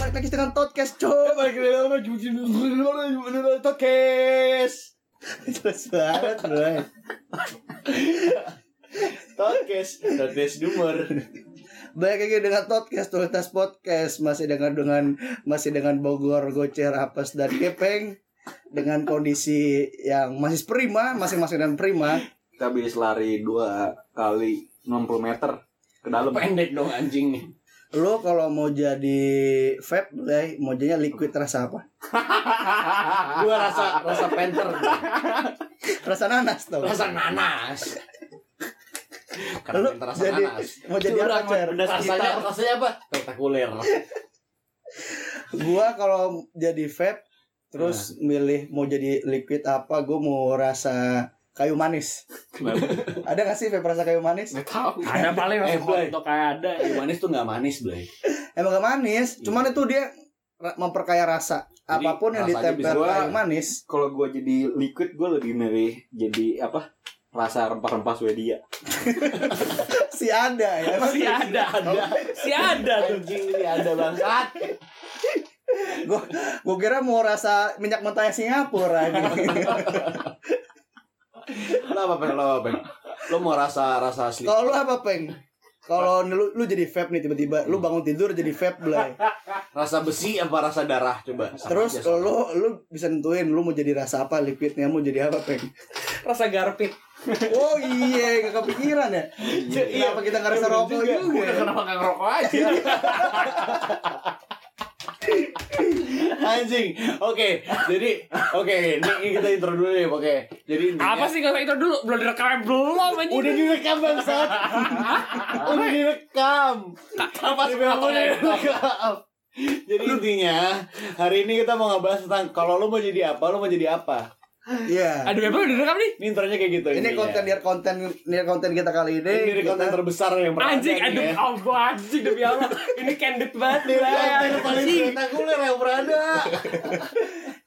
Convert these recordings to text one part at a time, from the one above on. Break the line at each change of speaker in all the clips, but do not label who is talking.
balik lagi dengan podcast cok
Balik lagi sama Jujin Menurut Tokes
Terus banget bro
Tokes Tokes Dumur
Balik lagi dengan podcast Totalitas Podcast Masih dengan dengan Masih dengan Bogor, Gocer, Apes, dan Kepeng Dengan kondisi yang masih prima Masing-masing dan prima
Kita habis lari dua kali 60 meter ke dalam.
Pendek dong anjing nih
Lo kalau mau jadi vape boleh Mau jadinya liquid rasa apa?
Gua rasa rasa penter
Rasa nanas tuh
Rasa nanas Karena
Lu
penter rasa
jadi-
nanas
Mau jadi apa Cer?
Rasanya, rasanya apa? Spektakuler
Gua kalau jadi vape Terus milih mau jadi liquid apa Gue mau rasa kayu manis Ada gak sih vape rasa kayu manis?
Nggak tahu.
Ada paling
Eh, Blay.
untuk kayak ada.
Kayu manis tuh gak manis Blay
Emang gak manis,
Iya.
cuman itu dia ra- memperkaya rasa.
Jadi,
Apapun yang
rasanya
ditempel
bisa-
kayu manis,
Kalau gua jadi liquid, gua lebih milih jadi apa? Rasa rempah-rempah Swedia.
si ada ya. Emang
Si ada, ada. Si ada tuh.
Anjing ini ada Ah, bangsat
gue kira mau rasa minyak mentah Singapura ini.
Lo apa Pen? Lo apa Pen? Lo mau rasa rasa asli
Kalau lu apa peng? Kalau lu, lu jadi vape nih tiba-tiba, lu bangun tidur jadi vape belai.
Rasa besi apa rasa darah? Coba
Terus lu lu bisa nentuin lu mau jadi rasa apa liquidnya mau jadi apa peng?
Rasa garpit. Iya.
Oh iya, gak kepikiran ya. Kenapa kita gak rasa rokok juga? ya?
Kenapa nggak ngerokok aja?
Anjing. Oke, jadi oke, ini ini kita intro dulu nih, oke. Jadi intinya-
Apa sih kalau itu dulu? Belum direkam belum anjing.
Udah direkam bangsat. Udah direkam.
apa sih?
Udah direkam. Jadi intinya hari ini kita mau ngebahas tentang kalau lo mau jadi apa, lo mau jadi apa.
Iya.
Ada berapa udah direkam nih?
Ini intronya kayak gitu.
Ini
iya.
intinya.
konten near konten near konten kita kali ini.
ini dari
kita-
konten terbesar yang pernah.
Anjing,
ada nih,
aduh
ya.
Allah, anjing demi Allah. Ini candid banget
Ini
Blay.
konten yang paling
Anjing.
spektakuler yang pernah ada.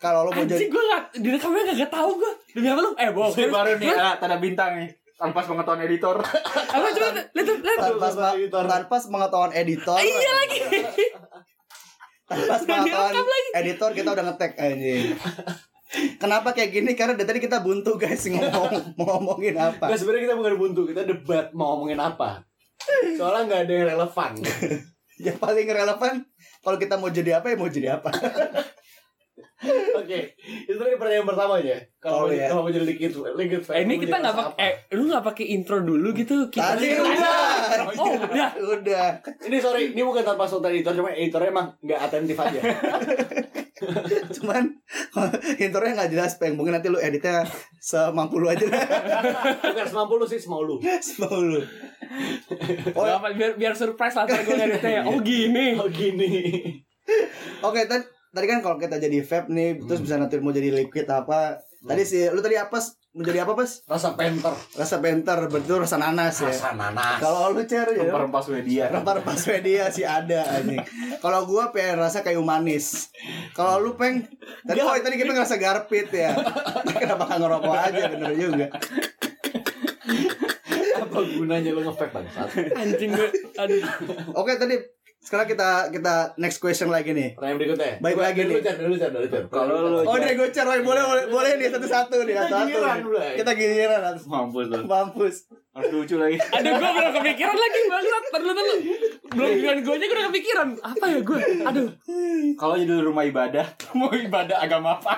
Kalau lu mau jadi
Anjing gue gak, direkamnya gak, gak tau gue Demi apa lu? Eh bohong
Ini baru nih ah, tanda bintang nih. Tanpa pengetahuan editor.
Apa coba, lihat tuh, lihat tuh.
tanpa
Tanpa
sema-
editor.
tanpa pengetahuan editor
Iya lagi
tanpa pengetahuan
direkam lagi.
editor kita udah ngetek anjing kenapa kayak gini karena dari tadi kita buntu guys ngomong mau ngomongin apa
Nah, sebenarnya kita bukan buntu, kita debat mau ngomongin apa. Soalnya nggak ada yang relevan.
yang Ya, paling relevan kalau kita mau jadi apa ya mau jadi apa
Oke, itu tadi pertanyaan pertamanya.
Oh,
Kalau mau
iya.
kalau mau jadi liquid, liquid
Eh, Ini kita gak pakai, eh lu gak pakai intro dulu gitu kita
tadi udah
Oh udah
udah
Ini sorry, ini bukan tanpa sultan editor, cuma editornya emang nggak atentif aja.
cuman intronya nggak jelas peng mungkin nanti lu editnya semampu lu aja lah
Bukan semampu lu sih, semau lu.
semampu lu
Oh, apa, biar biar surprise lah ntar gue ngeditnya ya. Oh gini.
Oh gini.
Oke, tadi tadi kan kalau kita jadi vape nih, terus bisa nanti mau jadi liquid apa. Tadi sih lu tadi apa? Pas? Mau jadi apa, Pas?
Rasa Iya. penter,
Rasa bentar, betul rasa nanas ya.
rasa nanas.
Kalau lu cer ya.
Rempah-rempah Swedia.
Rempah-rempah Swedia sih ada anjing. Kalau gua pengen rasa kayu manis. Kalau lu peng tadi oh tadi kita ngerasa garpit ya. Kenapa nggak ngerokok aja bener juga.
apa gunanya lu nge-vape bangsat?
Anjing gue. Aduh.
Oke, tadi sekarang kita kita next question lagi nih.
Pertanyaan berikutnya.
Baik
Gua-
lcer,
Dulu, Cer, dulu, Cer, dulu, Cer.
Kalau lu-
Oh, dari gue cer, woy. boleh boleh boleh nih satu-satu nih, satu-satu.
Giliran,
nih.
Blay.
Kita giliran harus
Mampus lu.
mampus.
Harus lucu lagi.
Aduh gue belum kepikiran lagi banget. Perlu perlu. Belum bilang gue aja gue udah kepikiran. Apa ya gue? Aduh.
Kalau jadi rumah ibadah, mau ibadah agama apa?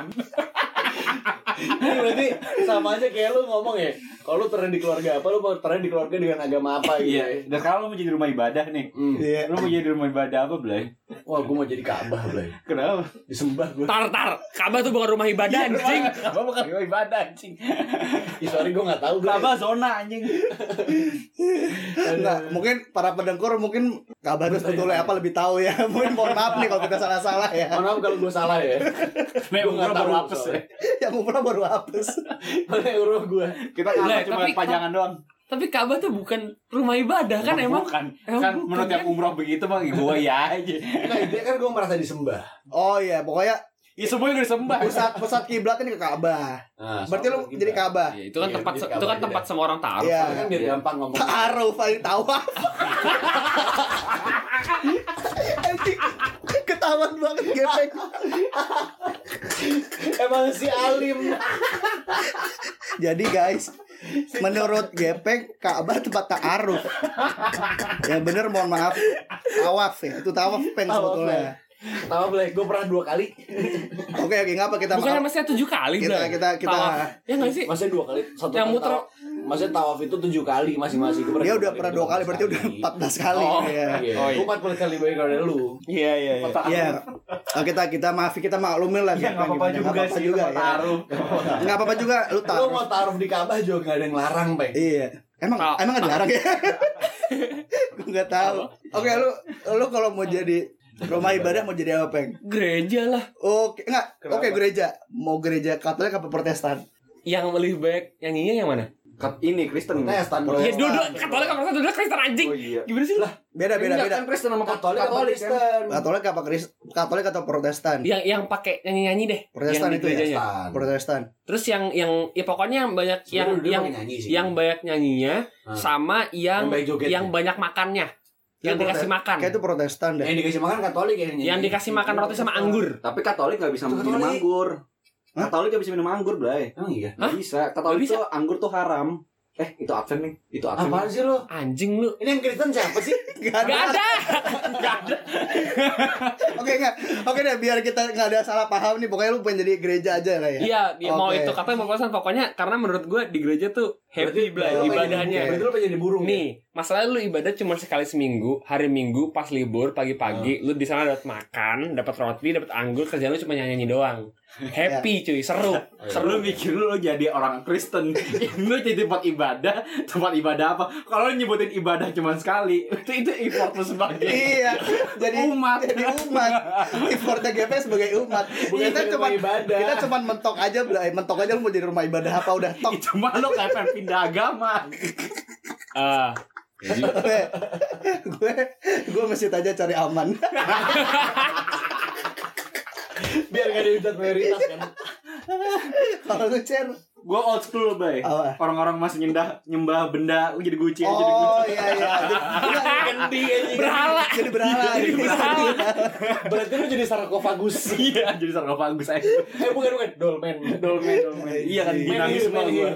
Oh, Ini berarti sama aja kayak lu ngomong ya. Kalau lu tren di keluarga apa, lu mau tren di keluarga dengan agama apa gitu. ya.
Iya. Dan kalau lu mau jadi rumah ibadah nih,
Hmm.
Iya.
lu mau jadi rumah ibadah apa, Blay?
Wah, gue mau jadi Ka'bah, Blay.
Kenapa?
Disembah gue.
Tar tar. Kabar tuh bukan Iya, rumah ibadah anjing.
Kenapa bukan rumah ibadah, anjing?
Ih, sorry gue nggak tahu, Blay.
Kenapa zona, anjing?
Enggak, Nah, mungkin para pendengkur mungkin kabar itu sebetulnya apa lebih tahu ya. Mungkin mohon maaf nih kalau kita salah-salah ya.
Mohon maaf kalau gue salah ya.
Memang
nggak
gua
tahu,
baru hapus
soalnya.
ya.
Yang umurnya baru hapus.
ya.
Oleh urus gue.
Kita
Blay,
nggak cuma
tapi-
pajangan doang.
Tapi Kabar tuh bukan rumah ibadah kan emang.
bukan.
emang
kan- kan
bukan,
menurut yang
kan?
umroh begitu bang gue ya aja
Nah, intinya kan gue merasa disembah.
Oh iya, pokoknya
ya semuanya udah sembah
pusat pusat kiblatnya di ke Ka'bah.
Nah,
Berarti lu
sama
jadi
kita.
Ka'bah.
Ya, itu kan
Iya,
tempat
jadi
itu kan
Ka'bah
tempat
ibadah.
semua orang taruh.
Iya.
Kan biar
Iya.
gampang ngomong.
Taruh paling tawa. Anjing, ketahuan banget gepeng.
Emang si Alim.
Jadi guys, menurut gepeng Ka'bah tempat ta'aruf. Yang Ya, bener mohon maaf, tawaf ya. Itu tawaf peng
Tawaf,
sebetulnya.
Tahu boleh, gue pernah dua kali.
Oke oke, ngapa kita
Bukannya
maaf.
masih tujuh kali
Kita
Bray.
kita kita
Tawaf. Ya nggak sih?
Maksudnya dua kali. Satu
Yang
kali
muter.
tawaf. Maksudnya tawaf itu tujuh kali masing-masing. Gua
dia udah pernah dua kali berarti udah 14 kali.
Oh,
Iya.
Iya.
Oh, iya.
Gue 40 kali baik dari lu.
Iya iya iya.
Iya. Oh, kita kita maafi kita maklumin lah.
Iya,
Gepeng,
nggak apa-apa
gimana.
juga
Nggak apa-apa
sih, juga,
ya.
taruh.
Nggak apa-apa juga lu
Lu
taruh.
mau taruh di Ka'bah juga gak ada yang larang, Peng.
Iya. Emang
Ta-
emang ada larang ya? Gue nggak tahu. Oke, lu lu kalau mau jadi rumah ibadah mau jadi apa, Peng?
Gereja lah.
Oke, enggak.
Kenapa?
Oke, gereja. Mau gereja Katolik apa Protestan?
Yang lebih baik yang ini yang mana?
Kat- Ini Kristen.
Tes tanpa
Ya dua-dua Katolik apa satu dua Kristen anjing.
Oh iya.
Gimana sih lu?
Beda, beda,
Enggak,
beda.
Kan Kristen sama
Katolik apa
kan?
Kristen?
Katolik apa Kris- Katolik atau Protestan?
Yang yang pakai nyanyi-nyanyi deh.
Protestan
Iya, yang di
itu ya?
Iya.
gerejanya.
Protestan.
Terus yang yang ya pokoknya yang banyak yang
Sebenarnya dulu
yang
pakai nyanyi sih.
yang banyak nyanyinya
Ah.
sama yang
Yang banyak jogetnya.
yang banyak makannya.
Ya,
Yang dikasih
Protes-
makan.
Kayak itu Protestan deh.
yang dikasih makan Katolik ya, yang Iya.
Yang dikasih makan roti sama anggur.
Tapi Katolik nggak bisa
Itu
minum
Katolik.
anggur.
Hah?
Katolik nggak bisa minum anggur, Bray.
Emang iya.
Hah?
Nggak bisa. Katolik
Nggak bisa?
tuh anggur tuh haram. Eh, itu absen nih. Itu absen.
Apaan sih lo?
Anjing lu.
Ini yang Kristen siapa sih?
Nggak
Gak ada. Gak ada.
Oke, enggak. Oke deh, biar kita nggak ada salah paham nih. Pokoknya lu pengen jadi gereja aja lah ya.
Iya, dia mau
Oke.
itu katanya mau pesan pokoknya karena menurut gue di gereja tuh happy
Berarti
bla
lo pengen
ibadahnya.
jadi- Berarti lo pengen jadi burung. ya?
Nih, masalah lu ibadah cuma sekali seminggu, hari Minggu pas libur
Hmm.
pagi-pagi lu di sana dapat makan, dapat roti, dapat anggur, kerjaan lu cuma nyanyi-nyanyi doang.
Ya.
Happy cuy, seru.
Iya.
Seru mikir lu jadi orang Kristen Lu jadi tempat ibadah Tempat ibadah apa Kalau lu nyebutin ibadah cuma sekali Itu itu effortless banget
Iya, jadi
Umat.
jadi umat. Importnya GP sebagai umat. kita
Bukan sebagai
cuma
rumah ibadah.
kita cuma mentok aja, Bray. mentok aja lu mau jadi rumah ibadah apa udah tok.
Itu mah lu kayak pengen pindah agama
Ah,
gue gue gue mesti aja cari aman.
ya? Biar gak ada hujat mayoritas kan.
Kalau lu cer,
Gue old school bay
Apa?
Orang-orang masih nyembah nyembah benda Lu jadi guci aja jadi
oh
guci
iya iya.
Ganti aja.
Ah, berhala.
Jadi berhala. gitu. Iya, kan?
Jadi berhala.
Berarti lo jadi sarkofagus.
Iya jadi sarkofagus aja
Eh bukan bukan dolmen.
Dolmen dolmen Iya kan dinamis semua gua.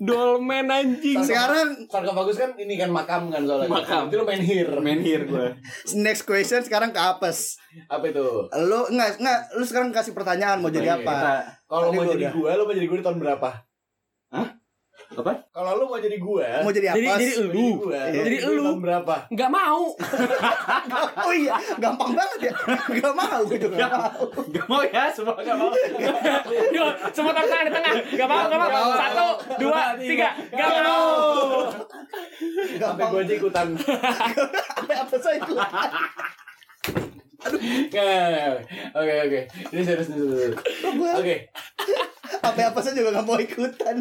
Dolmen anjing.
Sekarang
Sarkofagus kan ini kan makam kan soalnya.
Makam.
Itu lo main hir.
Permen here gue
next question sekarang ke apes.
Apa itu?
Lu enggak enggak lu sekarang kasih pertanyaan mau
Iya,
jadi apa?
Kalau
Tadi
mau
gua
jadi
udah.
gue, lo mau jadi gue di tahun berapa?
Apa?
Kalau lo mau jadi gue,
Mau jadi
Jadi
apes?
jadi
jadi gue,
lu
Iya.
lo
Uh. Jadi
jadi gue di
elu.
tahun berapa?
nggak mau.
Oh iya, gampang banget ya. Gak mau gitu, gak mau.
Gak mau ya semua gak mau
Yuk, semua taruh tangan di tengah. Gak mau, gak mau. Satu, dua, tiga. Gak mau.
Sampai
Gampang.
gue aja ikutan.
Sampai apa saya itu?
Oke, Oke oke. Ini serius ini serius.
Gue
Oke.
sampai apa saya juga gak mau ikutan.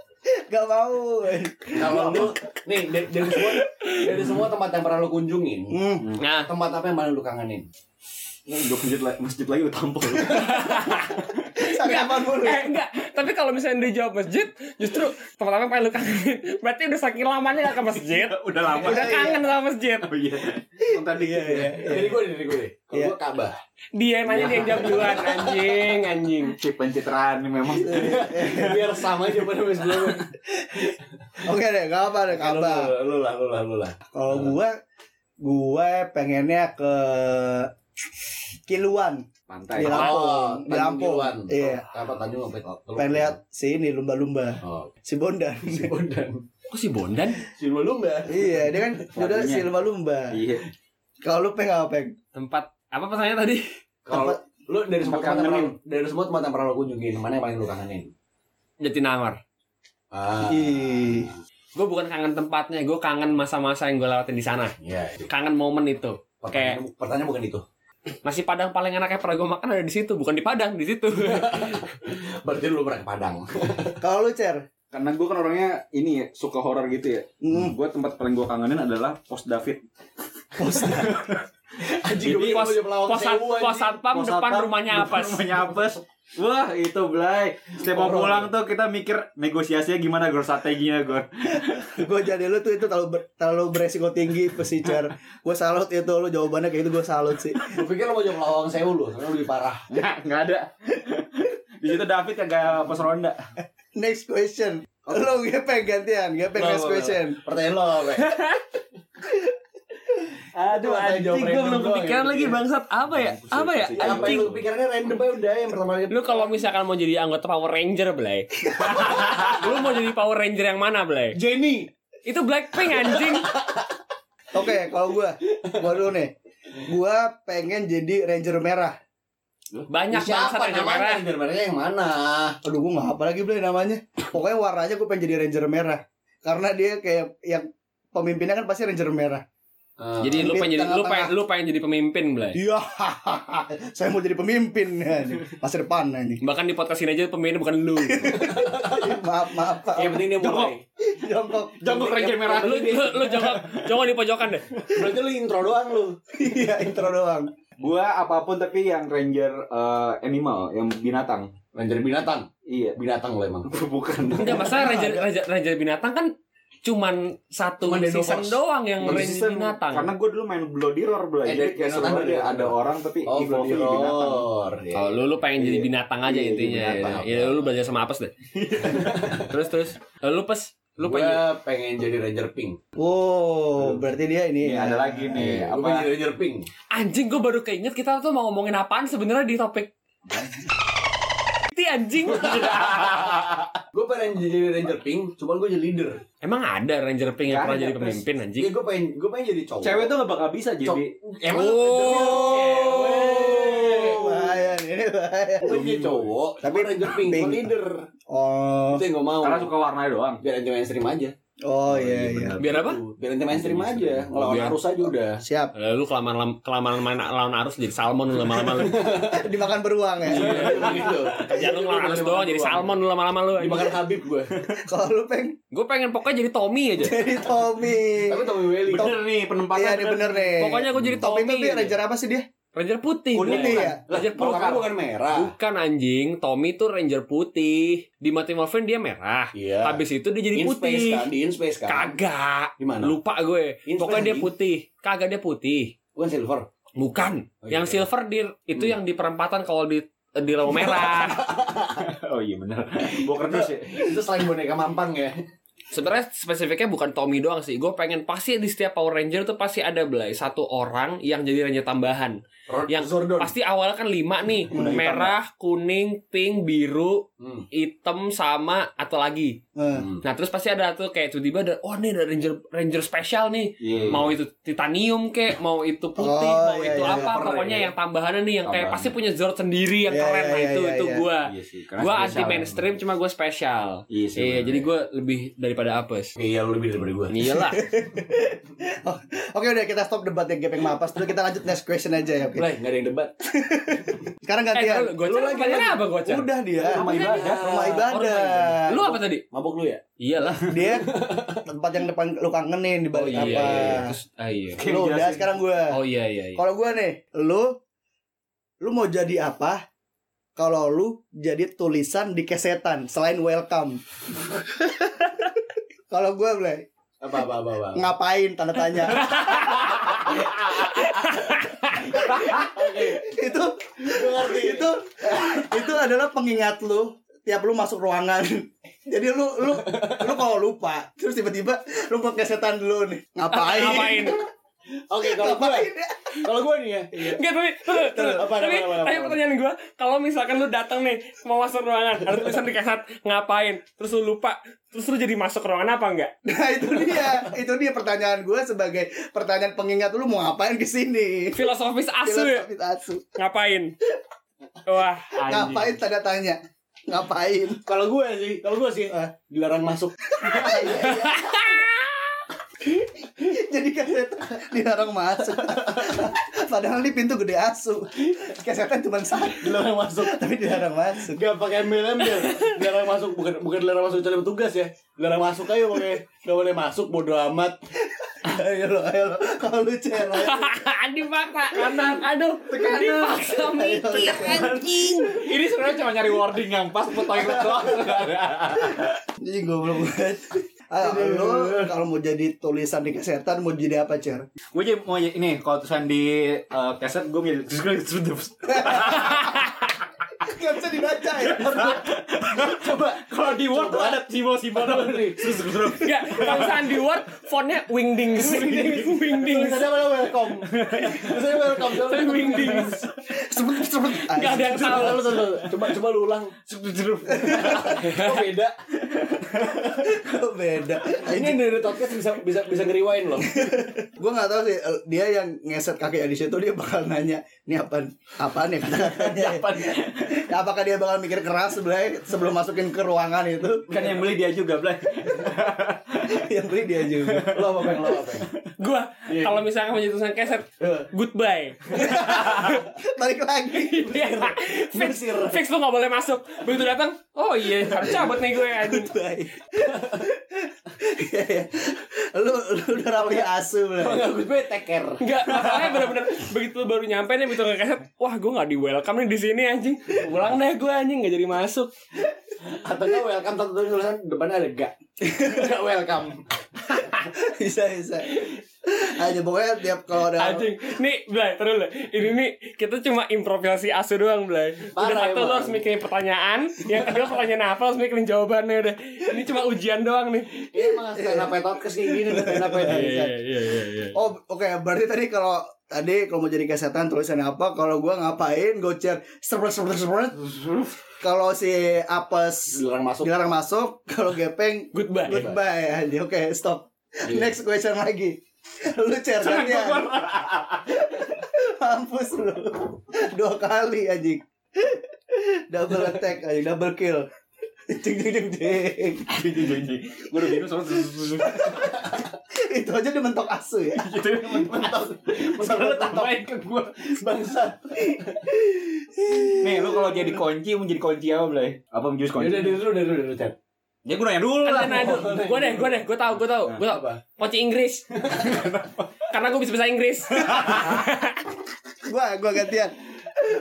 Gak mau.
Kalau lo, nih dari, dari semua dari semua tempat yang pernah lo kunjungin,
Hmm.
Nah,
tempat apa yang paling lo kangenin?
Gue masjid lagi masjid lagi udah tampol
Sampai apa dulu?
eh, enggak. Tapi kalau misalnya dia jawab masjid, justru teman-teman pengen lu kangenin. Berarti udah saking lamanya gak ke masjid.
Udah lama
Udah kangen sama masjid.
Oh iya Konten dikit
iya.
Dari gue dari gue deh. Kalau
Iya.
gue Ka'bah.
Dia nanya dia yang jawab duluan. Anjing, anjing.
Si pencitraan ini memang
Biar sama aja pada mas belum.
Oke deh, gak apa deh,
Kalau
kabar.
lo- lo lah lo lah lo lah.
Kalau gue, gue pengennya ke Kiluan
pantai.
Di
Iya.
Lampung, di
Oh, Tanjung
Lampung.
Kiluan.
Iya.
Apa Tanjung apa? Teluk.
pengen lihat si ini lumba-lumba
Oh.
si Bondan
Si Bondan.
Kok si Bondan?
Si Lumba.
iya dia kan udah si lumba-lumba
Iya.
kalau lu pengen apa peng
Tempat apa pesannya tadi?
Kalau lo dari semua tempat
Tempat
yang
kangenin.
pernah- dari semua tempat yang pernah lo kunjungin, mana yang paling lo kangenin?
Jatinangor.
Ah.
Ih.
Gue bukan kangen tempatnya, gue kangen masa-masa yang gue lewatin di sana.
Iya.
Kangen momen itu.
Pertanyaan, pertanyaan bukan itu.
Nasi Padang paling enak yang pernah gue makan ada di situ, bukan di Padang, di situ.
Berarti lo pernah ke Padang.
kalau lu cer
Karena gue kan orangnya ini ya, suka horor gitu ya.
Hmm.
Gue tempat paling gue kangenin adalah Pos David.
Pos
Anjing gue
Jadi
pos-
punya pelawak
pos,
sewu
pos
anjing.
satpam
Pos
depan
satpam,
rumahnya
depan
apa?
rumahnya apes. Wah itu belai Setiap mau
Horor.
pulang tuh kita mikir negosiasinya gimana gor strateginya gor
gue jadi lu tuh itu terlalu ber- terlalu beresiko tinggi pesicer gue salut itu lu jawabannya kayak itu gue salut sih
Gue pikir lo mau jawab lawang sewu lo, karena lebih parah.
Nggak, nggak ada Di situ David yang kayak pos ronda
next question lu gepeng gantian gepeng
Wah,
next
wah, wah.
question
Pertanyaan lo apa? Pe?
Aduh,
anjing,
anjing
gua gitu.
gue belum
belum
kepikiran
kepikiran
lagi bangsat apa ya? Apa
ya?
ya?
Apa
Anjing.
yang lu pikirannya random aja udah yang pertama kali.
Lu kalau misalkan mau jadi anggota Power Ranger, Blay. lu mau jadi Power Ranger yang mana, Blay?
Jenny.
Itu Blackpink anjing.
oke kalau gue gue dulu nih gue pengen jadi ranger merah
Banyak
Siapa
bangsat Ranger
namanya?
merah.
Ranger merahnya yang mana?
aduh gue nggak apa lagi beli namanya pokoknya warnanya gue pengen jadi ranger merah karena dia kayak yang pemimpinnya kan pasti ranger merah
Jadi lu pengen jadi lu
Tengah-tengah.
pengen lu pengen jadi pemimpin, Blay.
iya saya mau jadi pemimpin Nah, masa depan ini
Bahkan di podcast ini aja pemimpin bukan lu.
maaf maaf Pak.
Iya.
yang penting dia mulai.
jongkok
Jongkok Ranger merah
lu lu, lu jongkok jongkok di pojokan deh.
Berarti lu intro doang lu.
iya intro doang
Gua apapun tapi yang ranger eh, animal Yang binatang
Ranger binatang.
Iya
Binatang lo emang.
Bukan
Enggak masalah Ranger Ranger Ranger binatang kan cuman satu
Cuman
season
Dinosaurus.
doang yang
Belum
Ranger
season.
binatang.
Karena gue dulu main Bloody Roar Blay.
Eh,
Jadi
dari
kayak
binatang,
sebenarnya
dari
ada- ada
binatang.
orang tapi
Oh,
evolve jadi binatang.
Gladiator.
Oh, lu lu pengen jadi
Iya.
binatang aja
Iya, jadi
intinya.
binatang,
Ya,
oke.
lu belajar sama apes deh. terus terus. Eh, Lu pes, lu
Lu
pengen
pengen jadi Ranger Pink.
Wow, berarti dia ini
Nih,
ya.
ada lagi nih.
Iya,
Apa?
Gue pengen jadi Ranger Pink.
anjing gue baru keinget kita tuh mau ngomongin apaan sebenarnya di topik. Ti anjing.
Gue pengen jadi Ranger Pink, cuman gue jadi leader.
Emang ada Ranger Pink yang
Gak
pernah
ada,
jadi
Pres.
pemimpin anjing?
Jadi gue pengen gue pengen jadi cowok.
Cewek tuh gak bakal bisa jadi.
Emang
Oh.
Iya,
cewek.
Oh, Bahaya nih, ini bahaya.
Gue jadi cowok, tapi Ranger Pink, gue
Pink.
leader.
Oh,
Itu yang gue mau.
Karena suka warnanya doang.
biar anti mainstream aja.
oh iya iya.
Biar apa?
Biar anti mainstream aja. Ngelawan
Biar-
arus aja udah.
Siap,
Eh, Lu kelamaan lam- kelamaan main lawan arus jadi salmon lu lama-lama lu.
dimakan beruang ya.
Gitu.
Kerjaan lu ngelawan arus
iya,
doang jadi salmon lu lama-lama lu.
Dimakan Habib gue.
Kalau lu peng
Gue pengen pokoknya jadi Tommy aja.
jadi Tommy.
Tapi Tommy Welly.
Bener nih penempatan.
Iya, ini bener nih.
Eh,
Pokoknya gue jadi
Tommy
Tommy.
itu dia
aja.
ranger apa sih dia?
Ranger putih.
Kuning
Iya.
Blay.
ya?
Ranger
Kalau
putih.
kamu bukan merah.
Bukan anjing, Tommy tuh ranger putih. Di Mighty Morphin dia merah.
Iya.
Habis itu dia jadi
in
putih.
space kan, di in space kan.
Kagak.
Di mana?
Lupa gue.
In space,
Pokoknya dia
anjing.
putih. Kagak dia putih.
Bukan silver.
Bukan.
Oh, iya.
yang silver di itu
Hmm.
yang di perempatan kalau di di lampu merah.
Oh iya bener. Bawa kerdus ya.
Itu selain boneka mampang ya.
Sebenarnya spesifiknya bukan Tommy doang sih. Gue pengen pasti di setiap Power Ranger tuh pasti ada belai satu orang yang jadi ranger tambahan. Yang
Zordon.
Pasti awalnya kan lima nih.
ya.
Udah hitam,
merah, kuning, pink, biru,
Hmm.
hitam sama atau lagi.
Eh,
Hmm.
Nah, terus pasti ada tuh kayak tiba-tiba ada oh nih ada ranger ranger spesial nih.
Iya.
Mau itu titanium kek, mau itu putih,
Hmm. Oh,
mau
iya,
itu
iya,
apa,
iya.
pokoknya yang tambahannya nih yang kayak
Tambahan.
pasti punya Zord sendiri yang
Iya, iya,
keren. Nah,
iya,
itu
iya,
itu
iya.
gua.
Iya sih. karena
Gua anti
spesial
mainstream
emang.
cuma gua spesial.
Iya sih.
Iya,
bener.
jadi gua lebih daripada apes. Eh,
Iya, lu lebih daripada gue.
Iyalah.
Oke udah kita stop debat yang gepeng mapas dulu kita lanjut next question aja ya. oke?
Lah, gak ada yang debat.
Sekarang
eh,
gantian.
gua
Lu lagi-
lagi apa gua
Udah dia
Rumah ibadah.
rumah ibadah.
Lu apa tadi? Iya
Mabok lu ya?
Iyalah.
Dia tempat yang depan lu kangenin di
Oh
balik
iya.
apa.
iya. Terus ah iya.
Kayak
Lu udah
jelasin.
sekarang gua.
Oh iya iya iya.
Kalau gue nih, lu lu mau jadi apa? Kalau lu jadi tulisan di kesetan selain welcome. Kalau gue boleh
Apa apa apa apa.
ngapain tanda tanya
Oke,
itu
gue ngerti.
itu itu adalah pengingat lu tiap lu masuk ruangan jadi lu lu lu kalau lupa terus tiba-tiba lu ke kesetan dulu nih ngapain
Ngapain?
Oke, kalau gue
ngapain ya?
kalau gue nih ya.
Enggak tapi tapi
Apa, apa,
tapi,
apa, apa,
tapi
apa?
pertanyaan gue kalau misalkan lu datang nih mau masuk ruangan ada tulisan di kaset ngapain terus lu lupa terus lu jadi masuk ruangan apa enggak?
nah itu dia itu dia pertanyaan gue sebagai pertanyaan pengingat lu mau ngapain ke sini
Filosofis asu ya
Filosofis asu.
ngapain? Wah anjing.
ngapain tanda tanya ngapain
Kalau gue sih, kalau gue sih
Eh.
dilarang masuk.
jadi kaset dilarang masuk padahal di pintu gede asu kasetan cuma satu
Dilarang masuk.
tapi dilarang masuk
Gak pakai embel-embel Dilarang masuk Bukan bukan dilarang masuk cari petugas ya Dilarang masuk aja boleh Gak boleh masuk bodo amat
ayo lo ayo lo kalau lu cer ayo lo.
dipaksa kanan aduh dipaksa mikir anjing
Ini sebenarnya cuma nyari wording yang pas buat toilet doang.
Ini goblok banget. Ah, lo kalau mau jadi tulisan di kesehatan mau jadi apa, Cer?
gue jadi mau jadi- ini kalau tulisan di eh, keset gue milih
Gak bisa dibaca ya.
coba kalau di word tuh ada simbol simbol nih.
Enggak, kalau sandi word fontnya wingdings wingdings wingdings
Tulisannya mana welcome. Tulisannya welcome. Coba-
Tapi wingdings
Sebut sebut.
Gak ada yang tahu
Coba lu coba, coba coba lu ulang. Kok beda?
Kok beda.
Ini yang dari podcast bisa bisa bisa ngeriwain loh.
Gue gak tahu sih eh, dia yang ngeset kakek di situ dia bakal nanya, "Ini apaan? Apaan ya kata-katanya?"
Apaan?
Ya, Apakah dia bakal mikir keras sebelah sebelum masukin ke ruangan itu?
kan yang beli dia juga Blay
yang beli dia juga.
Lo apa pengen lo apa pengen?
Gua kalau misalnya punya tulisan keset Goodbye Iya.
Balik lagi.
Fix Fix lu gak boleh masuk Begitu datang Oh iya harus cabut nih gue anjing
Baik. Iya, lu lu udah rapi asu
Kalau
belum?
nggak gue gue take care.
Enggak, masalahnya bener-bener begitu baru nyampe nih begitu keset, wah gue nggak di welcome nih di sini anjing. Pulang deh gue anjing nggak jadi masuk.
Atau nggak welcome satu tulisan depannya ada gak. Gak welcome.
bisa bisa. Aja pokoknya tiap kalau ada
Anjing, nih Blay, terus lah. Ini nih kita cuma improvisasi asu doang Blay. Udah
Parah,
satu lo
emang.
harus mikirin pertanyaan, yang kedua pertanyaan apa lo harus mikirin jawabannya udah. Ini cuma ujian doang nih.
Ini emang stand up ya, podcast kayak gini stand up
Iya,
iya iya.
Oh, oke. Berarti tadi kalau tadi kalau mau jadi kesehatan tulisannya apa? Kalau gua ngapain? Gocer serpet serpet serpet. Kalau si apes
Dilarang masuk.
dilarang masuk, kalau gepeng
Goodbye.
goodbye. Anjir, Oke, stop. Next question lagi. Lu cer gantian. Mampus lu. Dua kali anjing. Double attack anjing, double kill. Jeng jeng jeng jeng.
gue udah bingung sama
Itu aja udah mentok asu ya.
gitu mentok
Masalah
tambahin ke gue
bangsa.
nih lu kalau jadi kunci mau jadi kunci apa Blay apa mau jadi kunci
Udah dari dulu dari dulu dari dulu chat.
ya gue nanya dulu lah
Ada nado. Gue deh, gue deh, gue tau, gue tau, gue tau.
Apa?
Kunci Inggris. Karena gue bisa bahasa Inggris.
Gua gua gantian.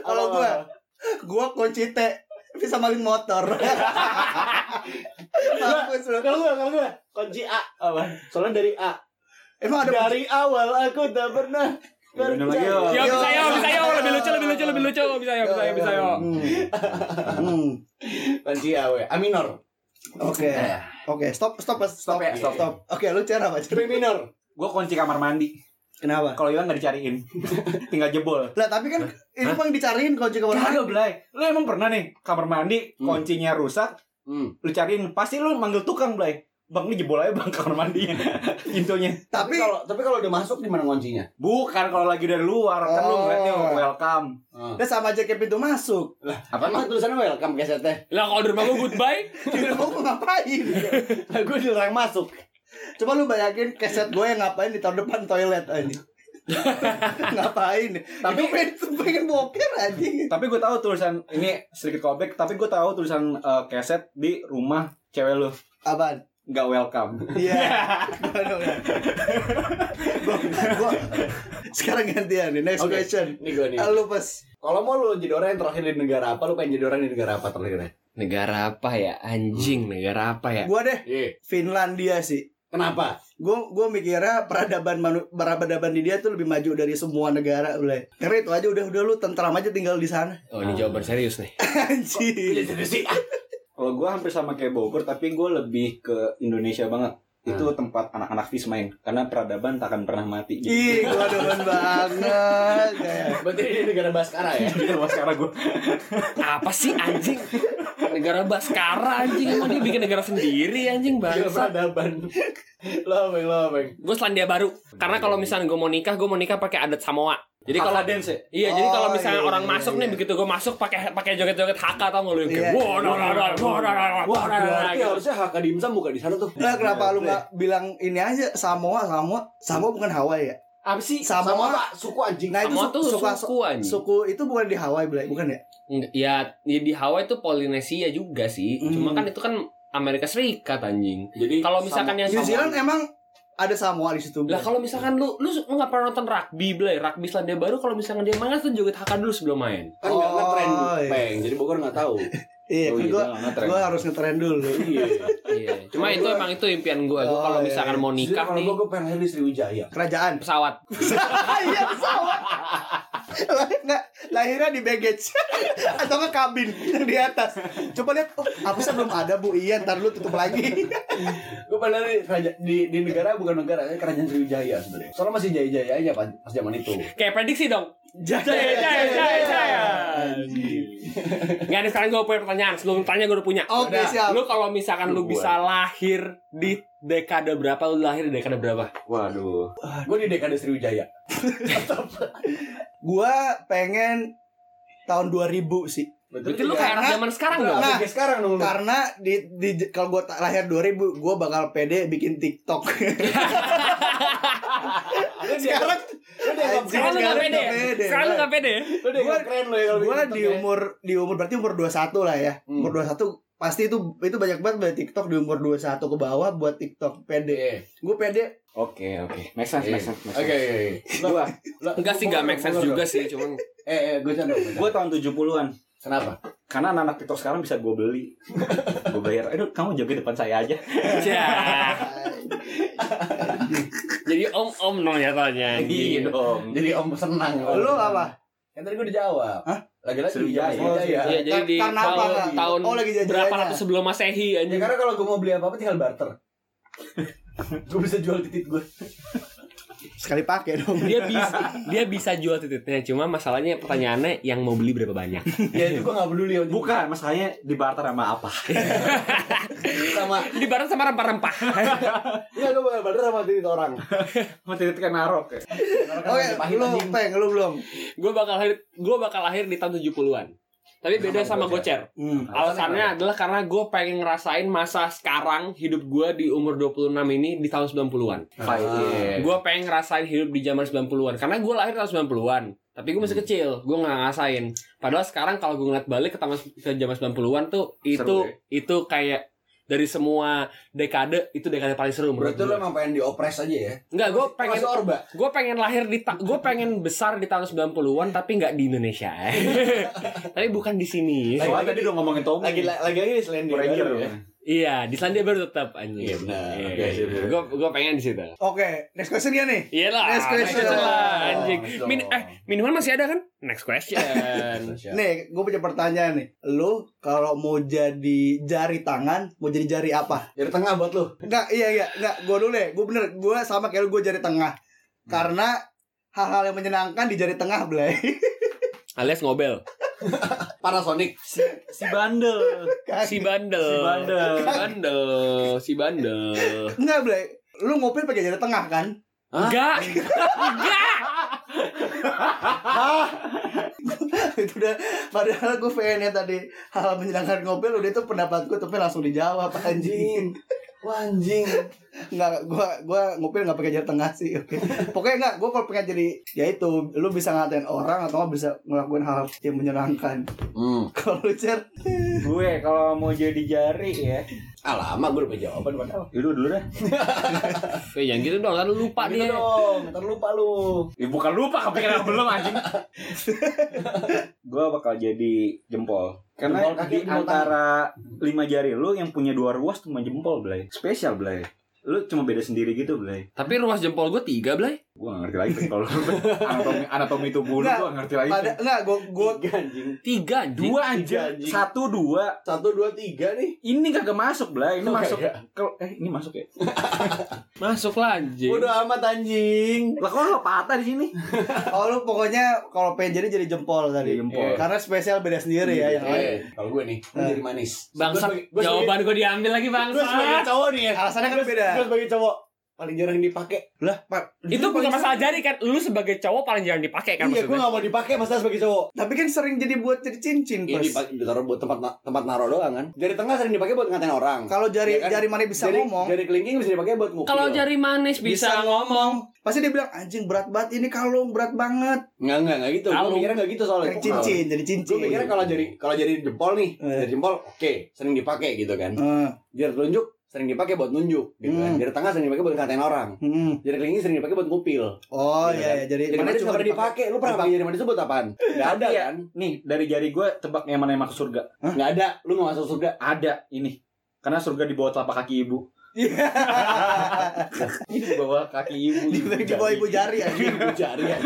Kalau gua gua kunci T bisa maling motor. Mampus lu.
Kalau gue kalau gue kunci A apa? Soalnya dari A.
Emang ada
Dari awal aku tak pernah
Ya, bener lagi, yo.
Yo
Yo,
bisa yo, bisa yo,
yo.
lebih lucu, lebih lucu, lebih lucu, bisa yo, bisa yo, bisa yo.
Hmm. Hmm.
Kunci A we. A minor.
Oke. Oke, stop stop Mas. stop.
Stop ya, stop.
Oke, lu cer apa? Cer?
B minor.
gue kunci kamar mandi
Kenapa?
kalau hilang nggak dicariin tinggal jebol
Lah, tapi kan ini bang dicariin kunci kamar.
Kagak Blay Lu emang pernah nih Kamar mandi
Hmm.
Kuncinya rusak
Hmm.
Lu cariin Pasti lu manggil tukang Blay Bang ini jebol aja bang kamar mandinya Pintunya
Tapi
Tapi kalau tapi kalau udah masuk di mana kuncinya?
Bukan kalau lagi dari luar Kan lu
Oh.
ngeliatnya welcome
Hmm.
Udah sama aja kayak pintu masuk.
Apa mah tulisannya welcome keset teh.
Lah kalau di rumah gue goodbye,
Di rumah gua ngapain?
Gue dilarang masuk.
Coba lu bayangin keset gue yang ngapain di tahun depan toilet aja. ngapain? Tapi
Tapi-
pengen, pengen boker aja.
Tapi gue tahu tulisan Ini sedikit callback Tapi gue tahu tulisan eh, keset Di rumah cewek lu
Apaan?
Gak welcome
Iya. Gua, gua, sekarang gantian nih next
Oke.
question.
Nih gue nih.
Ah, Lu pas
Kalau mau lu jadi orang yang terakhir di negara apa, lu pengen jadi orang di negara apa ya? terakhirnya?
Negara apa ya? Anjing, negara apa ya?
gua deh
Iya.
Finlandia sih.
Kenapa?
Gue gue mikirnya peradaban manu, peradaban di dia tuh lebih maju dari semua negara boleh. Karena itu aja udah udah lu tentram aja tinggal di sana.
Oh, ini jawaban serius nih.
Anjir.
Iya, jadi sih.
Kalau gue hampir sama kayak Bogor Tapi gue lebih ke Indonesia banget itu
Hmm.
tempat anak-anak fis main karena peradaban tak akan pernah mati
Ih, gua demen banget kayak.
Berarti ini negara Baskara ya?
Gitu, Mas, karena gue
Apa sih anjing? Negara Baskara anjing emang dia bikin negara sendiri anjing
Negara
bangsa.
Iya, peradaban. Lo bang, lo bang.
Gue Selandia Baru. Karena kalau misalnya gue mau nikah, gue mau nikah pakai adat Samoa. Jadi kalau
dance ya?
Iya, jadi kalau
Oh,
misalnya
iya,
orang
iya,
masuk
iya.
nih begitu gue masuk pakai pakai joget-joget haka tau nggak lu yang
Iya.
kayak wow, no, no, no, wow, no, no, no, wow, no,
Nah,
no, no,
Berarti
gitu.
harusnya Hakka Dimsum buka di sana tuh.
Lah kenapa
iya.
lu nggak bilang ini aja Samoa, Samoa, Samoa bukan Hawaii ya?
Apa sih?
Sama
Samoa,
pak suku anjing.
nah itu
Samoa
su-
tuh
suka-
suku anjing.
suku itu bukan di Hawaii Blay. bukan ya?
Nggak, Ya, ya di Hawaii itu Polinesia juga sih. Cuma
Hmm.
kan itu kan Amerika Serikat anjing.
Jadi
Kalau misalkan yang
New
Iya, Samoa-
Zealand emang ada Samoa di situ.
Lah
Bro.
kalau misalkan lu lu lu nggak pernah nonton rugby, Blay. Rugby Selandia Baru kalau misalkan dia main kan tuh joget haka dulu sebelum main.
Kan nggak
Oh,
ngetren,
iya.
peng. Jadi Bogor nggak tahu.
Iya,
Oh,
kan
iya,
gua
nggak ngetren.
gua harus ngetren dulu.
Iya.
Iya. Cuma itu emang itu impian gue. Gue kalau
Oh, iya,
misalkan mau
Jadi
nikah
Kalau
nih
gua gue pengen lahir di Sriwijaya.
Kerajaan.
pesawat.
Iya, pesawat. Lahir nggak? lahirnya di baggage atau nggak kabin yang di atas. Coba lihat, oh, apa sih belum ada Bu? Iya, ntar lu tutup lagi.
Gue pengen lahir di, raja- di, di negara bukan negara, ya, kerajaan Sriwijaya sebenarnya. Soalnya masih jaya-jayanya pas, pas zaman itu.
Kayak prediksi dong. Jaya,
Iya,
jaya, jaya, jaya. Gak ada sekarang gue punya pertanyaan. Sebelum tanya gue udah punya.
Oke,
Udah,
siap.
Lu kalau misalkan lu
Gua.
bisa lahir di dekade berapa? Lu lahir di dekade berapa?
Waduh. Gue di dekade Sriwijaya.
Gua pengen tahun 2000 sih.
Berarti lu kayak
Karena-
anak zaman sekarang dong.
Nah,
Nah, sekarang dong lu.
Karena di, di kalau gua ta- lahir 2000, gua bakal pede bikin TikTok.
Lu
Sekarang
dianggap- lu dianggap
Anjing.
Sekarang lu gak
sekarang
pede.
nggak
ya?
pede,
Sekarang lu
Bang.
gak pede.
Lu dianggap keren lu ya kalau
gua
bikin
di
TikTok ya.
umur di umur berarti umur 21 lah ya.
Hmm.
Umur 21 pasti itu itu banyak banget buat TikTok di umur 21 ke bawah buat TikTok pede.
Iya.
Gue pede.
Oke, oke. Make sense, make sense, make
Oke,
sense.
oke, oke. Lu-
Gua,
lu-
Enggak sih
lu-
gak
lu-
make sense
lu- lu-
juga sih. Cuman
Eh, eh, gue canda. gua canda.
gua tahun 70-an.
Kenapa?
Karena anak-anak TikTok sekarang bisa gua beli. gua bayar. Aduh, kamu joget depan saya aja.
Ya. Jadi om-om dong ya, nyatanya.
Iya dong.
Jadi om senang.
Lu apa?
Kan tadi gue udah jawab.
Hah?
Lagi-lagi
Sriwijaya.
zaman Sriwijaya.
Iya, jadi di
Karena apa?
tahun,
Lagi?
tahun
Oh, lagi jajan-jajan.
berapa ratus sebelum Masehi
Iya
Ya
anjing.
kan?
karena kalau gue mau beli apa-apa tinggal barter. gue bisa jual titik gue.
Sekali pakai dong.
Dia bisa dia bisa jual titiknya cuma masalahnya pertanyaannya yang mau beli berapa banyak.
Ya itu gue gak peduli. anjing.
Bukan, masalahnya di barter sama apa?
sama
Di barang sama rempah-rempah.
Enggak gue bakal barter sama titik orang.
Sama titik narok.
Orang kan
Oke,
lagi pahit
lu
anjing.
peng, lu belum.
Gue bakal lahir gue bakal lahir di tahun 70-an. Tapi beda sama Gocer.
Hmm.
Alasannya adalah karena gue pengen ngerasain masa sekarang hidup gue di umur 26 ini di tahun 90-an.
Fight.
Ah.
Gue pengen ngerasain hidup di zaman 90-an Karena gue lahir tahun 90-an Tapi gue
Hmm.
masih kecil Gue gak ngerasain Padahal sekarang kalau gue ngeliat balik ke, taman, ke zaman 90-an tuh Itu
Seru,
ya.
itu kayak dari semua dekade itu dekade paling seru menurut
Berarti lu
gue.
emang pengen diopres aja ya?
Enggak, gue pengen
Masih orba.
gue pengen lahir di gue pengen besar di tahun 90-an tapi nggak di Indonesia. eh. tapi bukan di sini.
Soalnya tadi udah ngomongin Tommy.
Lagi lagi lagi di Selandia
Ranger.
Baru ya.
Iya, di Selandia baru tetap anjing.
Iya, benar. Oke, sip, sip.
Gue gue pengen di situ.
Oke, next question ya nih.
Iyalah,
Next question.
next lah, anjing.
Next dong.
Min eh minuman masih ada kan? Next question.
Nih, gue punya pertanyaan nih. Lu kalau mau jadi jari tangan, mau jadi jari apa?
Dari tengah buat lu.
Enggak, iya iya, enggak. Gue dulu deh. Gue bener, gue sama kayak lu, gue jari tengah. Karena hal-hal yang menyenangkan di jari tengah, Blay.
Alias ngobel.
Panasonic.
Si bandel.
Kan?
si bandel
Si bandel.
si bandel si bandel
Enggak, Blay. Lu ngopi pakai jari tengah kan?
enggak enggak
itu udah padahal gue pengennya tadi hal menyenangkan ngobrol udah itu pendapat gue tapi langsung dijawab anjing
Wah anjing.
nggak gue gue ngobrol nggak pakai jari tengah sih oke pokoknya nggak gue kalau pengen jadi ya itu lu bisa ngatain orang atau nggak bisa ngelakuin hal yang menyenangkan
Hmm.
kalau lu cer
Gue kalau mau jadi jari ya.
Alamak gue udah punya jawaban padahal.
Dulu dulu deh.
Eh, yang gitu dong lalu lupa
Gitu
dia
dong, ntar lupa lu.
Ya, bukan lupa kepikiran belum anjing. gue bakal jadi jempol. Karena
Jempol kaki,
di
jempol
antara lima jari lu yang punya dua ruas cuma jempol, Blay. Spesial, Blay. Lu cuma beda sendiri gitu, Blay.
tapi ruas jempol gue tiga blay
Gue gak ngerti lagi kalau anatomi anatomi tubuh lu
Nggak.
gue gak ngerti lagi.
ada nggak gue gue
Tiga anjing.
tiga anjing.
Dua aja,
anjing.
satu dua.
Satu dua tiga nih.
Ini kagak masuk, Blay. Ini
Kagak.
masuk. Kalau eh ini masuk ya.
masuk lah anjing
Bodoh amat anjing.
Lah kok lo patah di sini?
oh lu pokoknya kalau pengen jadi jadi jempol
Iya,
tadi
Jempol.
karena spesial beda sendiri ya yang lain
Eh, kalau gue nih, gue jadi manis. Gue sebagai-
bangsat
gue sebagai-
jawaban gue diambil lagi
Gue sebagai
bangsat
cowok nih ya.
alasannya kan
Gue-
beda
Gue sebagai cowok paling jarang dipakai.
lah Pak,
itu bukan masalah jari kan lu sebagai cowok paling jarang dipakai kan
Iya, gue
maksudnya
gak mau dipakai masalah sebagai cowok.
tapi kan sering jadi buat jadi cincin
Ini
Pers.
Iya, dipakai ditaruh buat tempat na- tempat naro doang kan. Jari tengah sering dipakai buat ngatain orang.
kalau jari
Iya kan?
jari mana bisa
jari,
ngomong
Jari kelingking bisa dipakai buat ngukil.
kalau jari manis bisa, ngomong
Pasti dia bilang anjing berat banget ini kalung berat banget.
Enggak, enggak, enggak gitu. Gue
Kalung.
mikirnya enggak gitu soalnya.
Kayak cincin jadi
Gue
cincin.
mikirnya kalau jari kalau jari jempol nih,
Eh.
jari jempol oke, sering dipakai gitu kan.
Eh,
Jari telunjuk sering dipakai buat nunjuk gitu kan.
Hmm.
Jari tengah sering dipakai buat ngatain orang.
Hmm.
Jari kelingking sering dipakai buat ngupil.
Oh
Iya,
iya, iya. jadi,
Jadi
mana
mana cuma pernah dipakai? Lu pernah pakai jari manis itu buat apaan? Gak ada
Iya.
kan?
Nih, dari jari gue tebak yang mana yang masuk surga.
Gak ada. Lu gak masuk surga.
Ada ini. Karena surga di bawah telapak kaki ibu. Ini di bawah kaki ibu.
Di- di bawah ibu jari anjing.
Ibu jari ya.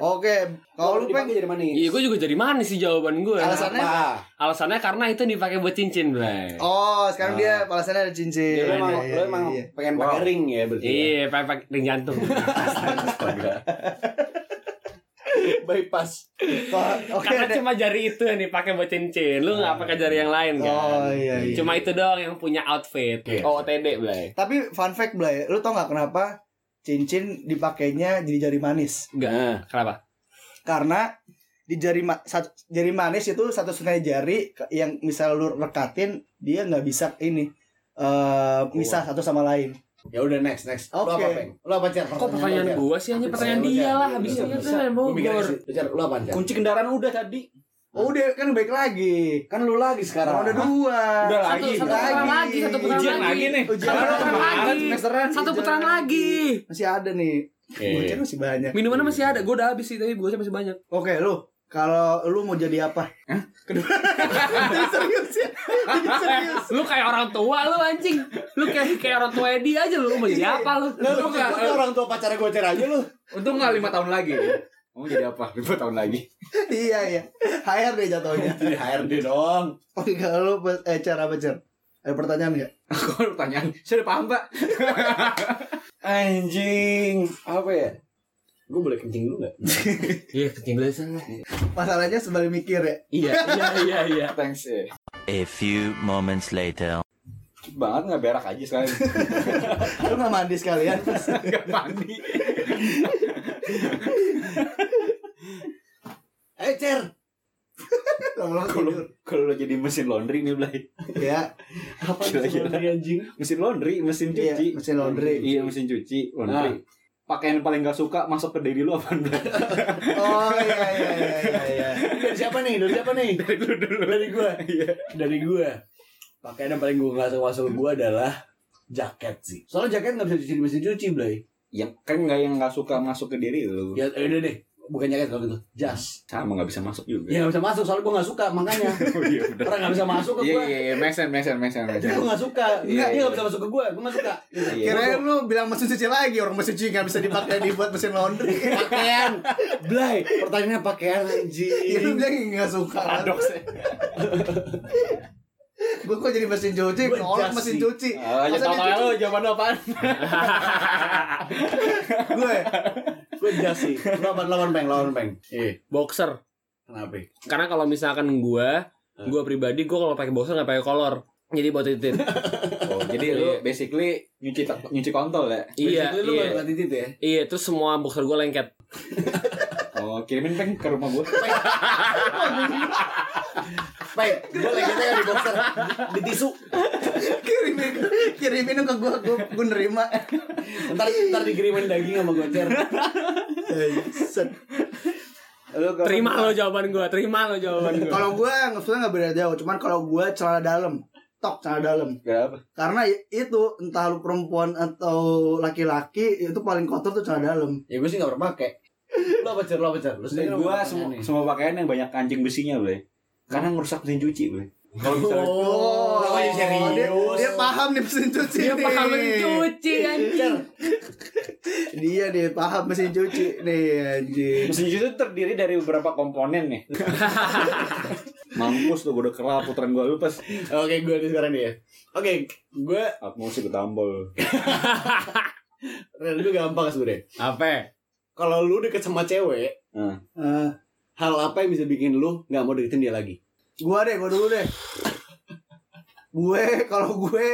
Oke,
Kalau
kalau lu
dipakai
pengen
jari manis.
Iya, gue juga jadi manis sih jawaban gue.
Alasan- alasannya-
Apa?
Alasannya karena itu dipakai buat cincin, Blay.
Oh, sekarang dia palasannya ada cincin.
Ya, lu emang,
Iya, iya,
lu emang
iya.
pengen pakai ring ya berarti. ya?
Iya, pakai pakai ring jantung.
Bypass.
Kalau- Oke,
Karena
ada-
cuma jari itu yang dipakai buat cincin. Lu nggak pakai jari yang lain kan?
Oh iya iya.
Cuma itu doang yang punya outfit.
Iya.
OOTD, Blay.
Tapi fun fact Blay, lu tau gak kenapa cincin dipakainya jadi jari manis?
Enggak.
Nah,
Kenapa?
Karena di jari ma- sat- jari manis itu satu setengah jari ke- yang misal lu rekatin dia nggak bisa ini eh misah satu sama lain.
ya udah next next. Lu
Oke.
apa, Peng? Lu apa, Cer?
Kok pertanyaan
Iya.
gua sih hanya pertanyaan
Pertanyaan
dia
lu,
lah
Cer.
habis
Iya,
ini
bisa.
kan
Lu mikir
Bogor.
sih. Cer, lu apaan, Cer?
Kunci kendaraan udah tadi.
Oh udah kan baik lagi.
Kan lu lagi sekarang.
Karena ada dua.
Udah lagi.
Satu, satu
lagi.
putaran lagi, satu putaran
Ujian
lagi.
lagi nih.
Ujian
Satu
lagi.
putaran lagi.
Semesteran,
Satu
ujian
putaran lagi.
Masih ada nih. Bocor masih banyak.
Minumannya masih ada, gue udah habis sih tapi bocor masih banyak.
Oke, lu kalau lu mau jadi apa? Hah? Kedua. Jadi serius ya. Jadi serius.
Eh, Lu kayak orang tua lu anjing. Lu kayak kayak orang tua dia aja lu mau jadi apa lu?
Nah, lu kayak orang tua pacarnya gue Cer aja lu.
Untung nggak lima tahun lagi. Kamu jadi apa? Lima tahun lagi.
iya iya. HR deh jatuhnya.
Jadi HRD dong.
Oke, kalau Oh, lu pe- eh cer apa cer? Ada pertanyaan nggak?
Kalau pertanyaan, saya udah paham pak.
Anjing. Apa ya? Gue boleh kencing dulu gak?
Iya, ketinggalan lah.
Masalahnya sebalik mikir ya.
Iya.
Iya, iya, iya.
Thanks eh.
A few moments later.
Cuk banget nggak berak aja sekali.
Lu nggak mandi sekalian?
Nggak mandi.
Eh Cer.
Lama-lama
Kalau
tidur.
kalau lo jadi mesin laundry nih Blay.
Ya,
Apa
Gila,
sih
gila.
laundry anjing?
Mesin laundry, mesin
Iya,
cuci.
mesin laundry.
Iya, mesin cuci, laundry. Pakaian paling gak suka masuk ke daily lu apaan Blay?
oh iya iya iya iya. iya.
Dari siapa nih? Dari siapa nih? Dari lu dulu. Dari gue. Iya. Dari gue. Pakaian yang paling gue nggak suka masuk gue adalah jaket sih. Soalnya jaket nggak bisa cuci di mesin cuci, Blay.
Yang kan nggak yang nggak suka masuk ke diri lu.
Ya udah deh. Bukan jaket kalau gitu. Jas.
Sama nggak bisa masuk juga.
Ya nggak bisa masuk soalnya gue nggak suka makanya.
Oh, Iya, bener.
Orang nggak bisa masuk ke
Iya,
gue.
iya, iya, mesen, mesen, mesen,
Jadi gue nggak suka. Nggak,
Iya,
dia
iya.
nggak bisa masuk ke gue. Gue nggak suka.
Kirain lu bilang mesin cuci lagi, orang mesin cuci nggak bisa dipakai dibuat mesin laundry.
Pakaian. Blay. Pertanyaannya pakaian
Iya lu
anjing.
bilang nggak suka. Aduh. Gue kok jadi mesin cuci,
Gua
nolak
jas
mesin
sih.
cuci.
Ah, ya
Masa
tau
dia
tau lu jawaban lu apaan?
Gue
Gue jas sih. Lawan lawan peng, lawan peng. Iya.
Boxer.
Kenapa?
Karena kalau misalkan gua, gua pribadi gua kalau pakai boxer nggak pakai kolor. Jadi buat titit.
Oh, jadi lu basically nyuci nyuci kontol ya.
iya,
Basically lu
iya.
nggak suka titit ya.
Iya, terus semua boxer gua lengket.
Oh, kirimin peng ke rumah gua.
Peng, gue lagi tanya di boxer, di tisu.
kirimin kirimin ke gue, gue gue nerima.
Ntar ntar dikirimin daging sama gocer.
Set. Lu kalau-
Terima lo jawaban gua, terima lo jawaban gua.
Kalau gue sebenarnya nggak beda jauh, cuman kalau gue celana dalam, tok celana dalam.
Kenapa?
Karena i- itu entah lu perempuan atau laki-laki itu paling kotor tuh celana dalam.
Ya gue sih gak pernah pake. Lo apa cer, lo apa cer? Lo sendiri
Gua semua semua pakaian yang banyak anjing besinya, Blay. Karena ngerusak mesin cuci, Blay. Kalau misalnya
Oh, oh
dia,
serius.
dia paham nih mesin cuci.
Dia
nih.
paham mencuci anjing.
Dia nih paham mesin cuci nih anjing.
Mesin cuci itu terdiri dari beberapa komponen nih. Mampus tuh gue udah kerap putaran gue lu pas
Oke, gue nih sekarang nih ya. Oke, gue
atmosfer ketambel.
rel gue gampang sebenernya.
Apa?
Kalau lu deket sama cewek,
Eh,
hal apa yang bisa bikin lu gak mau deketin dia lagi?
gue deh, gue dulu deh. gue kalau gue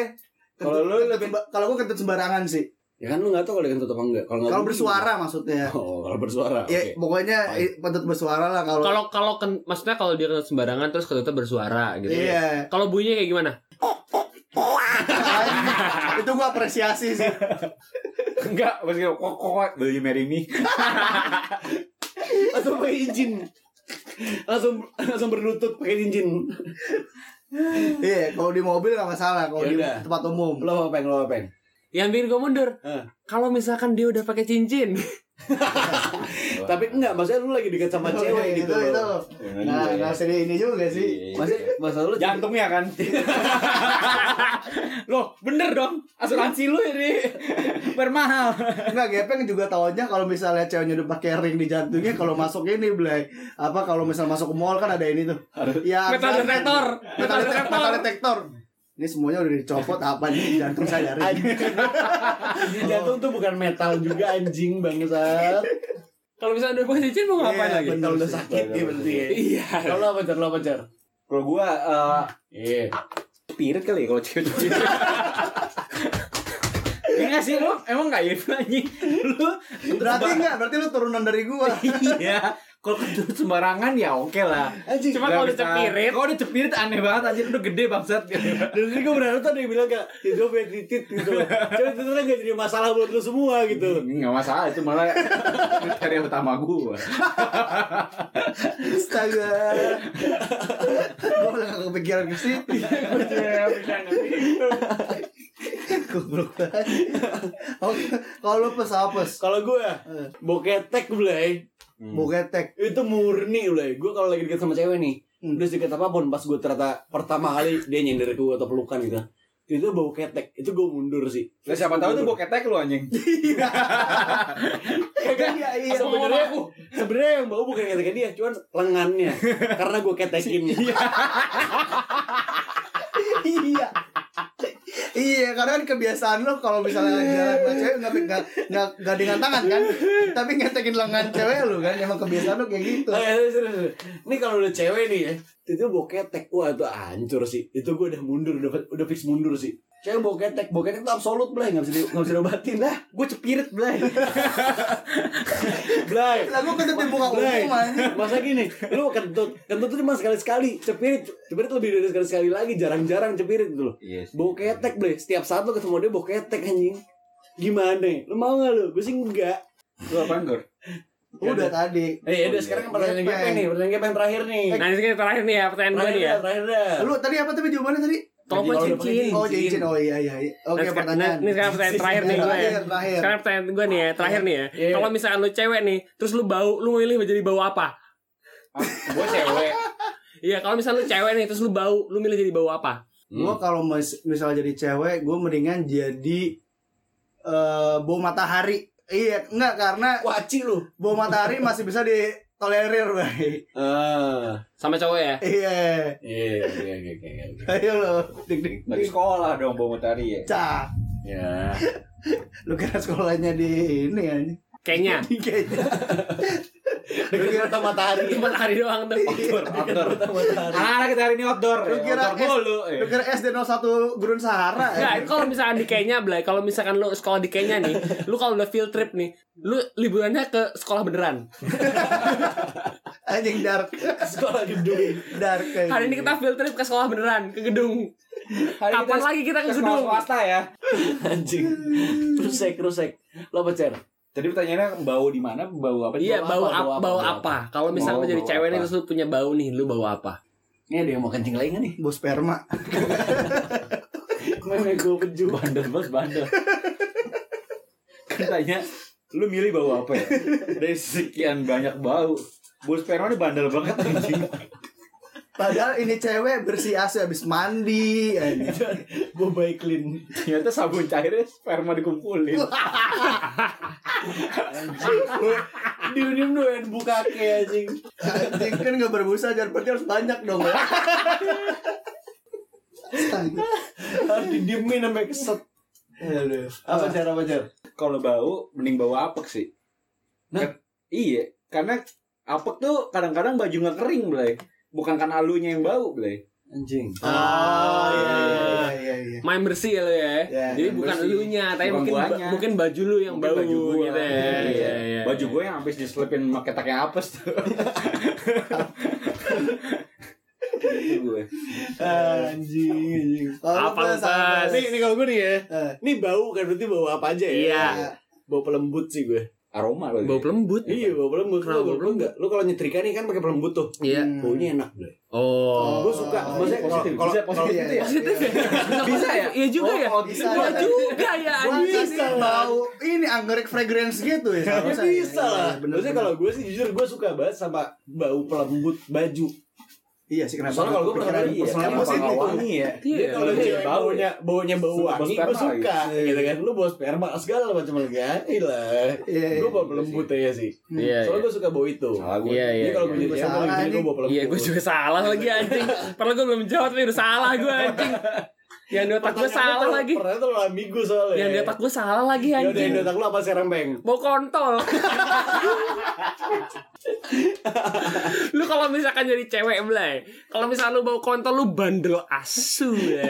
Kalau lu
kentut- kentut- kalau gue kentut sembarangan sih.
Ya kan lu gak tau kalau dia kentut apa enggak. Kalau nggak
Kalau
mungkin.
bersuara maksudnya.
Oh, kalau bersuara.
Ya
Oke.
pokoknya
Baik.
eh, kentut bersuara lah kalau.
Kalau kalau ken- maksudnya kalau dia kentut sembarangan terus kentutnya bersuara gitu. ya.
Iya.
Kalau bunyinya kayak gimana?
Iya. itu gua apresiasi sih
Enggak, pas gue kok kok kok will you marry me?
Langsung pakai cincin. Langsung langsung berlutut pakai cincin.
Iya, kalau di mobil nggak masalah, kalau di
Yaudah.
tempat umum.
Lo apa peng, lo apa peng?
Yang bikin gue mundur.
Eh.
Kalau misalkan dia udah pakai cincin.
Tapi enggak, maksudnya lu lagi deket sama
Itu-
cewek
itu-
gitu.
itu.
loh.
Nah, nah sedih ini juga sih.
Maksudnya, maksud lu
Jantungnya kan. Loh, bener dong. Asuransi lu ini bermahal.
Enggak gepeng juga taunya kalau misalnya ceweknya udah pakai ring di jantungnya kalau masuk ini belai apa kalau misal masuk ke mall kan ada ini tuh. Ya
Metal detektor. Metal
Metal detektor.
detektor.
Metal detektor. Ini semuanya udah dicopot apa nih jantung saya dari.
Anjing. Anjing, Jantung tuh bukan metal juga anjing bangsat.
Kalau misalnya udah pakai cincin mau ngapain
Iya,
lagi?
bener.
Kalau udah sakit dia berhenti. ya.
Iya.
Kalau lo apa cer, lo apa cer?
Kalau gua eh,
Iya.
spirit kali ya kalau cewek-cewek.
Enggak sih lu emang enggak itu anjing. Lu
ya.
Berarti enggak, berarti lu turunan dari gua.
Iya. Kalau kentut sembarangan ya oke lah.
Anjing.
Cuma kalau udah cepirit.
Kalau udah cepirit aneh banget anjir udah gede bangsat.
Dan tadi gue berharap tuh ada yang bilang kayak Ya gue punya titit gitu Cuma itu tuh gak jadi masalah buat lo semua gitu
Enggak Hmm, masalah itu malah kriteria utama gua.
Astaga. gua udah gak kepikiran ke situ. Goblok banget. Oke, kalau lu pes apa? pes?
Kalau gue
Eh.
Boketek belai
Hmm.
Buketek.
Itu murni belai Gue kalau lagi deket sama cewek nih
Hmm.
Udah sedikit apapun Pas gue ternyata Pertama kali dia nyender ke gue atau pelukan gitu itu bau ketek itu gue mundur sih
Lah siapa tahu tuh gua ketek lu anjing.
Iya, iya.
kan? sebenarnya sebenarnya yang bau bukan ketek dia cuman lengannya karena gue ketekin
iya iya karena kan kebiasaan lo kalau misalnya jalan sama cewek nggak nggak nggak nggak dengan tangan kan tapi ngetekin lengan cewek lo kan emang kebiasaan lo kayak gitu
Oh, iya, serius, serius, serius. Ini kalau udah cewek nih ya, itu bawa ketek. Wah, itu hancur sih. Itu gue udah mundur, udah, udah fix mundur sih. Cewek bawa ketek, bawa ketek itu absolut, Blay. Gak bisa, di, gak bisa diobatin lah.
Gua cepirit belai.
Blay.
lah gue kentut di muka
Blay.
umum aja
Masa gini, lu kentut. Kentut tuh cuma sekali-sekali. Cepirit, cepirit lebih dari sekali-sekali lagi. Jarang-jarang cepirit gitu loh.
Iya. sih.
Bawa ketek, Blay. Setiap saat lu ketemu dia bawa ketek, anjing. Gimana? Lu mau gak lu? Gue sih enggak.
Lu apaan, Gor?
udah tadi
Eh, udah Eh, sekarang
Gepeng.
pertanyaan gue nih. Pertanyaan gue yang terakhir nih.
Nah, ini kita terakhir nih ya, pertanyaan gue
Terakhir
nih ya.
dah, terakhir dah.
lu tadi apa tapi jawabannya tadi
Kalau mau
Kalau udah
cincin.
oh cincin oh iya iya iya. oke
Nah, seka-
pertanyaan
nah, Ini sekarang pertanyaan terakhir nih gue ya.
Terakhir, terakhir.
Sekarang pertanyaan gue nih ya, terakhir nih ya.
Iya.
Kalau misalkan lu cewek nih, terus lu bau, lu milih mau jadi bau apa?
Ah, Gua cewek.
Iya, kalau misalkan lu cewek nih, terus lu bau, lu milih jadi bau apa?
gue kalau mis- misalnya jadi cewek gue mendingan jadi eh bau matahari iya enggak karena
Waci lu.
bau matahari masih bisa ditolerir baik
Ah,
Sama cowok ya?
iya
iya, iya, iya, iya, iya.
Ayo lo, dik dik.
Dari sekolah dong bawa matahari ya.
Cah,
Ya.
lu kira sekolahnya di ini aja.
Kayaknya.
Di kayaknya.
Dekat mata matahari.
Cuma hari doang tuh.
Outdoor, outdoor.
Mata matahari.
Anak-anak kita hari ini outdoor.
Lu kira
Outdoor mulu. eh.
Lu kira SD 01 Gurun Sahara
Nah,
ya?
kalau misalkan di Kenya, Blay, kalau misalkan lu sekolah di Kenya nih, lu kalau udah field trip nih, lu liburannya ke sekolah beneran.
Anjing dark.
Sekolah gedung.
Dark kayak
Hari ini
gitu.
kita field trip ke sekolah beneran, ke gedung.
Hari
Kapan
kita
lagi kita ke
ke sekolah
gedung?
swasta ya.
Anjing. Rusek, rusek. Lo pacar?
Tadi pertanyaannya bau di mana? Bau apa?
Iya, bau
apa,
apa? Bau apa? Kalau
Bau-
misalkan lu jadi
bau
cewek nih,
apa?
terus lu punya bau nih, lu bau apa?
Ini ada yang mau kencing lagi gak nih?
bau sperma.
Mana gue peju.
Bandel banget, bandel. Kan tanya, lu milih bau apa ya? Dari sekian banyak bau. Bau sperma ini bandel banget anjing.
Padahal ini cewek bersih AC habis mandi. anjing.
Gue baik clean.
Ternyata sabun cairnya sperma dikumpulin.
Diunim doyan buka ke anjing.
Anjing kan gak berbusa jadi berarti harus banyak dong. ya. Astaga.
Harus didiemin sampai keset.
Aduh.
Apa cer? Apa cer?
Kalau bau, mending bau apek sih.
Nah.
Kan- iya, karena apek tuh kadang-kadang baju nggak kering, Blay. Bukan karena alunya yang bau, Blay.
Anjing.
Ah, iya iya iya iya.
Main bersih ya lu ya.
Ya,
Jadi
main
bukan
bersih.
elunya, tapi
Bukan
mungkin
guanya.
mungkin baju lu yang
Mungkin
bau
baju gua.
gitu ya.
Iya,
Iya, iya.
Baju gue yang habis diselipin sama ketaknya apes tuh. Gitu gue.
Anjing, anjing.
Kalau
Apa
lu
lu, Pas?
Nih, nih kalau gue nih ya.
Eh.
Nih bau kan berarti bau apa aja ya?
Iya.
Bau pelembut sih gue. aroma
Bau pelembut.
Iya, bau pelembut. Lu
Kenapa
bau
bau pelembut?
pelembut. Lu kalau nyetrika nih kan pakai pelembut tuh.
Iya.
Hmm.
Baunya enak, Bre.
Oh.
Gue suka. Maksudnya kalau
positif.
kalau
Bisa positif gitu ya?
Positif ya?
Bisa ya?
Iya juga ya.
Oh,
bisa.
Gua juga ya anjing.
Bisa bau ini anggrek fragrance gitu ya.
Ya
seharusnya.
bisa lah.
Iya, bener,
Maksudnya
bener.
kalau gue sih jujur gue suka banget sama bau pelembut baju.
iya sih kenapa?
Soalnya kalau gue pernah
Pikiran
iya,
personal
kan
positif
positif.
tuh.
ya.
Jadi
Iya.
kalau
Iya,
cewek
iya.
baunya baunya bau
Suka bau
wangi,
sperma
gue suka.
gitu.
Gitu kan, lu bau sperma segala macam lagi kan. Ilah.
Iya. iya.
Gue bau pelembut aja sih.
Iya.
Soalnya gue suka bau itu.
Salah gue.
Iya, iya.
Jadi kalau gue
iya.
jadi cewek,
Salah,
kalau jadi gue
anjing.
bau pelembut.
Iya, gue juga salah lagi anjing. Padahal gue belum jawab tapi udah salah gue anjing. Yang di otak gue salah lagi.
Pernah terlalu ambigu soalnya.
Yang di otak gue salah lagi
Ya udah, yang
anjing.
di otak lu apa sekarang, Bang?
Mau kontol. lu kalau misalkan jadi cewek belai, kalau misalkan lu bau kontol lu bandel asu ya.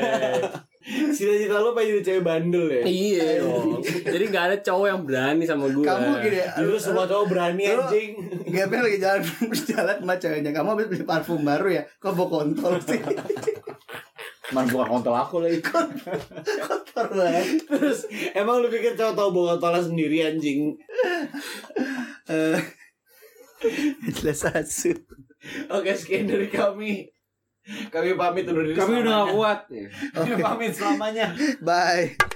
Cita-cita lu pengen jadi cewek bandel ya?
Iya dong. Jadi nggak ada cowok yang berani sama gue.
Kamu gini ya.
Dulu semua cowok berani
Lu-
anjing.
Gapin lagi jalan jalan sama ceweknya. Kamu habis beli parfum baru ya? Kok bau kontol sih?
Man bukan kontol aku lagi.
Kotor banget.
Terus emang lu pikir cowok tau bawa tola sendiri anjing?
Eh, Jelas asu.
Oke sekian dari kami. Kami pamit undur diri.
Kami udah
selamanya.
gak kuat.
Oke.
Kami pamit selamanya.
Bye.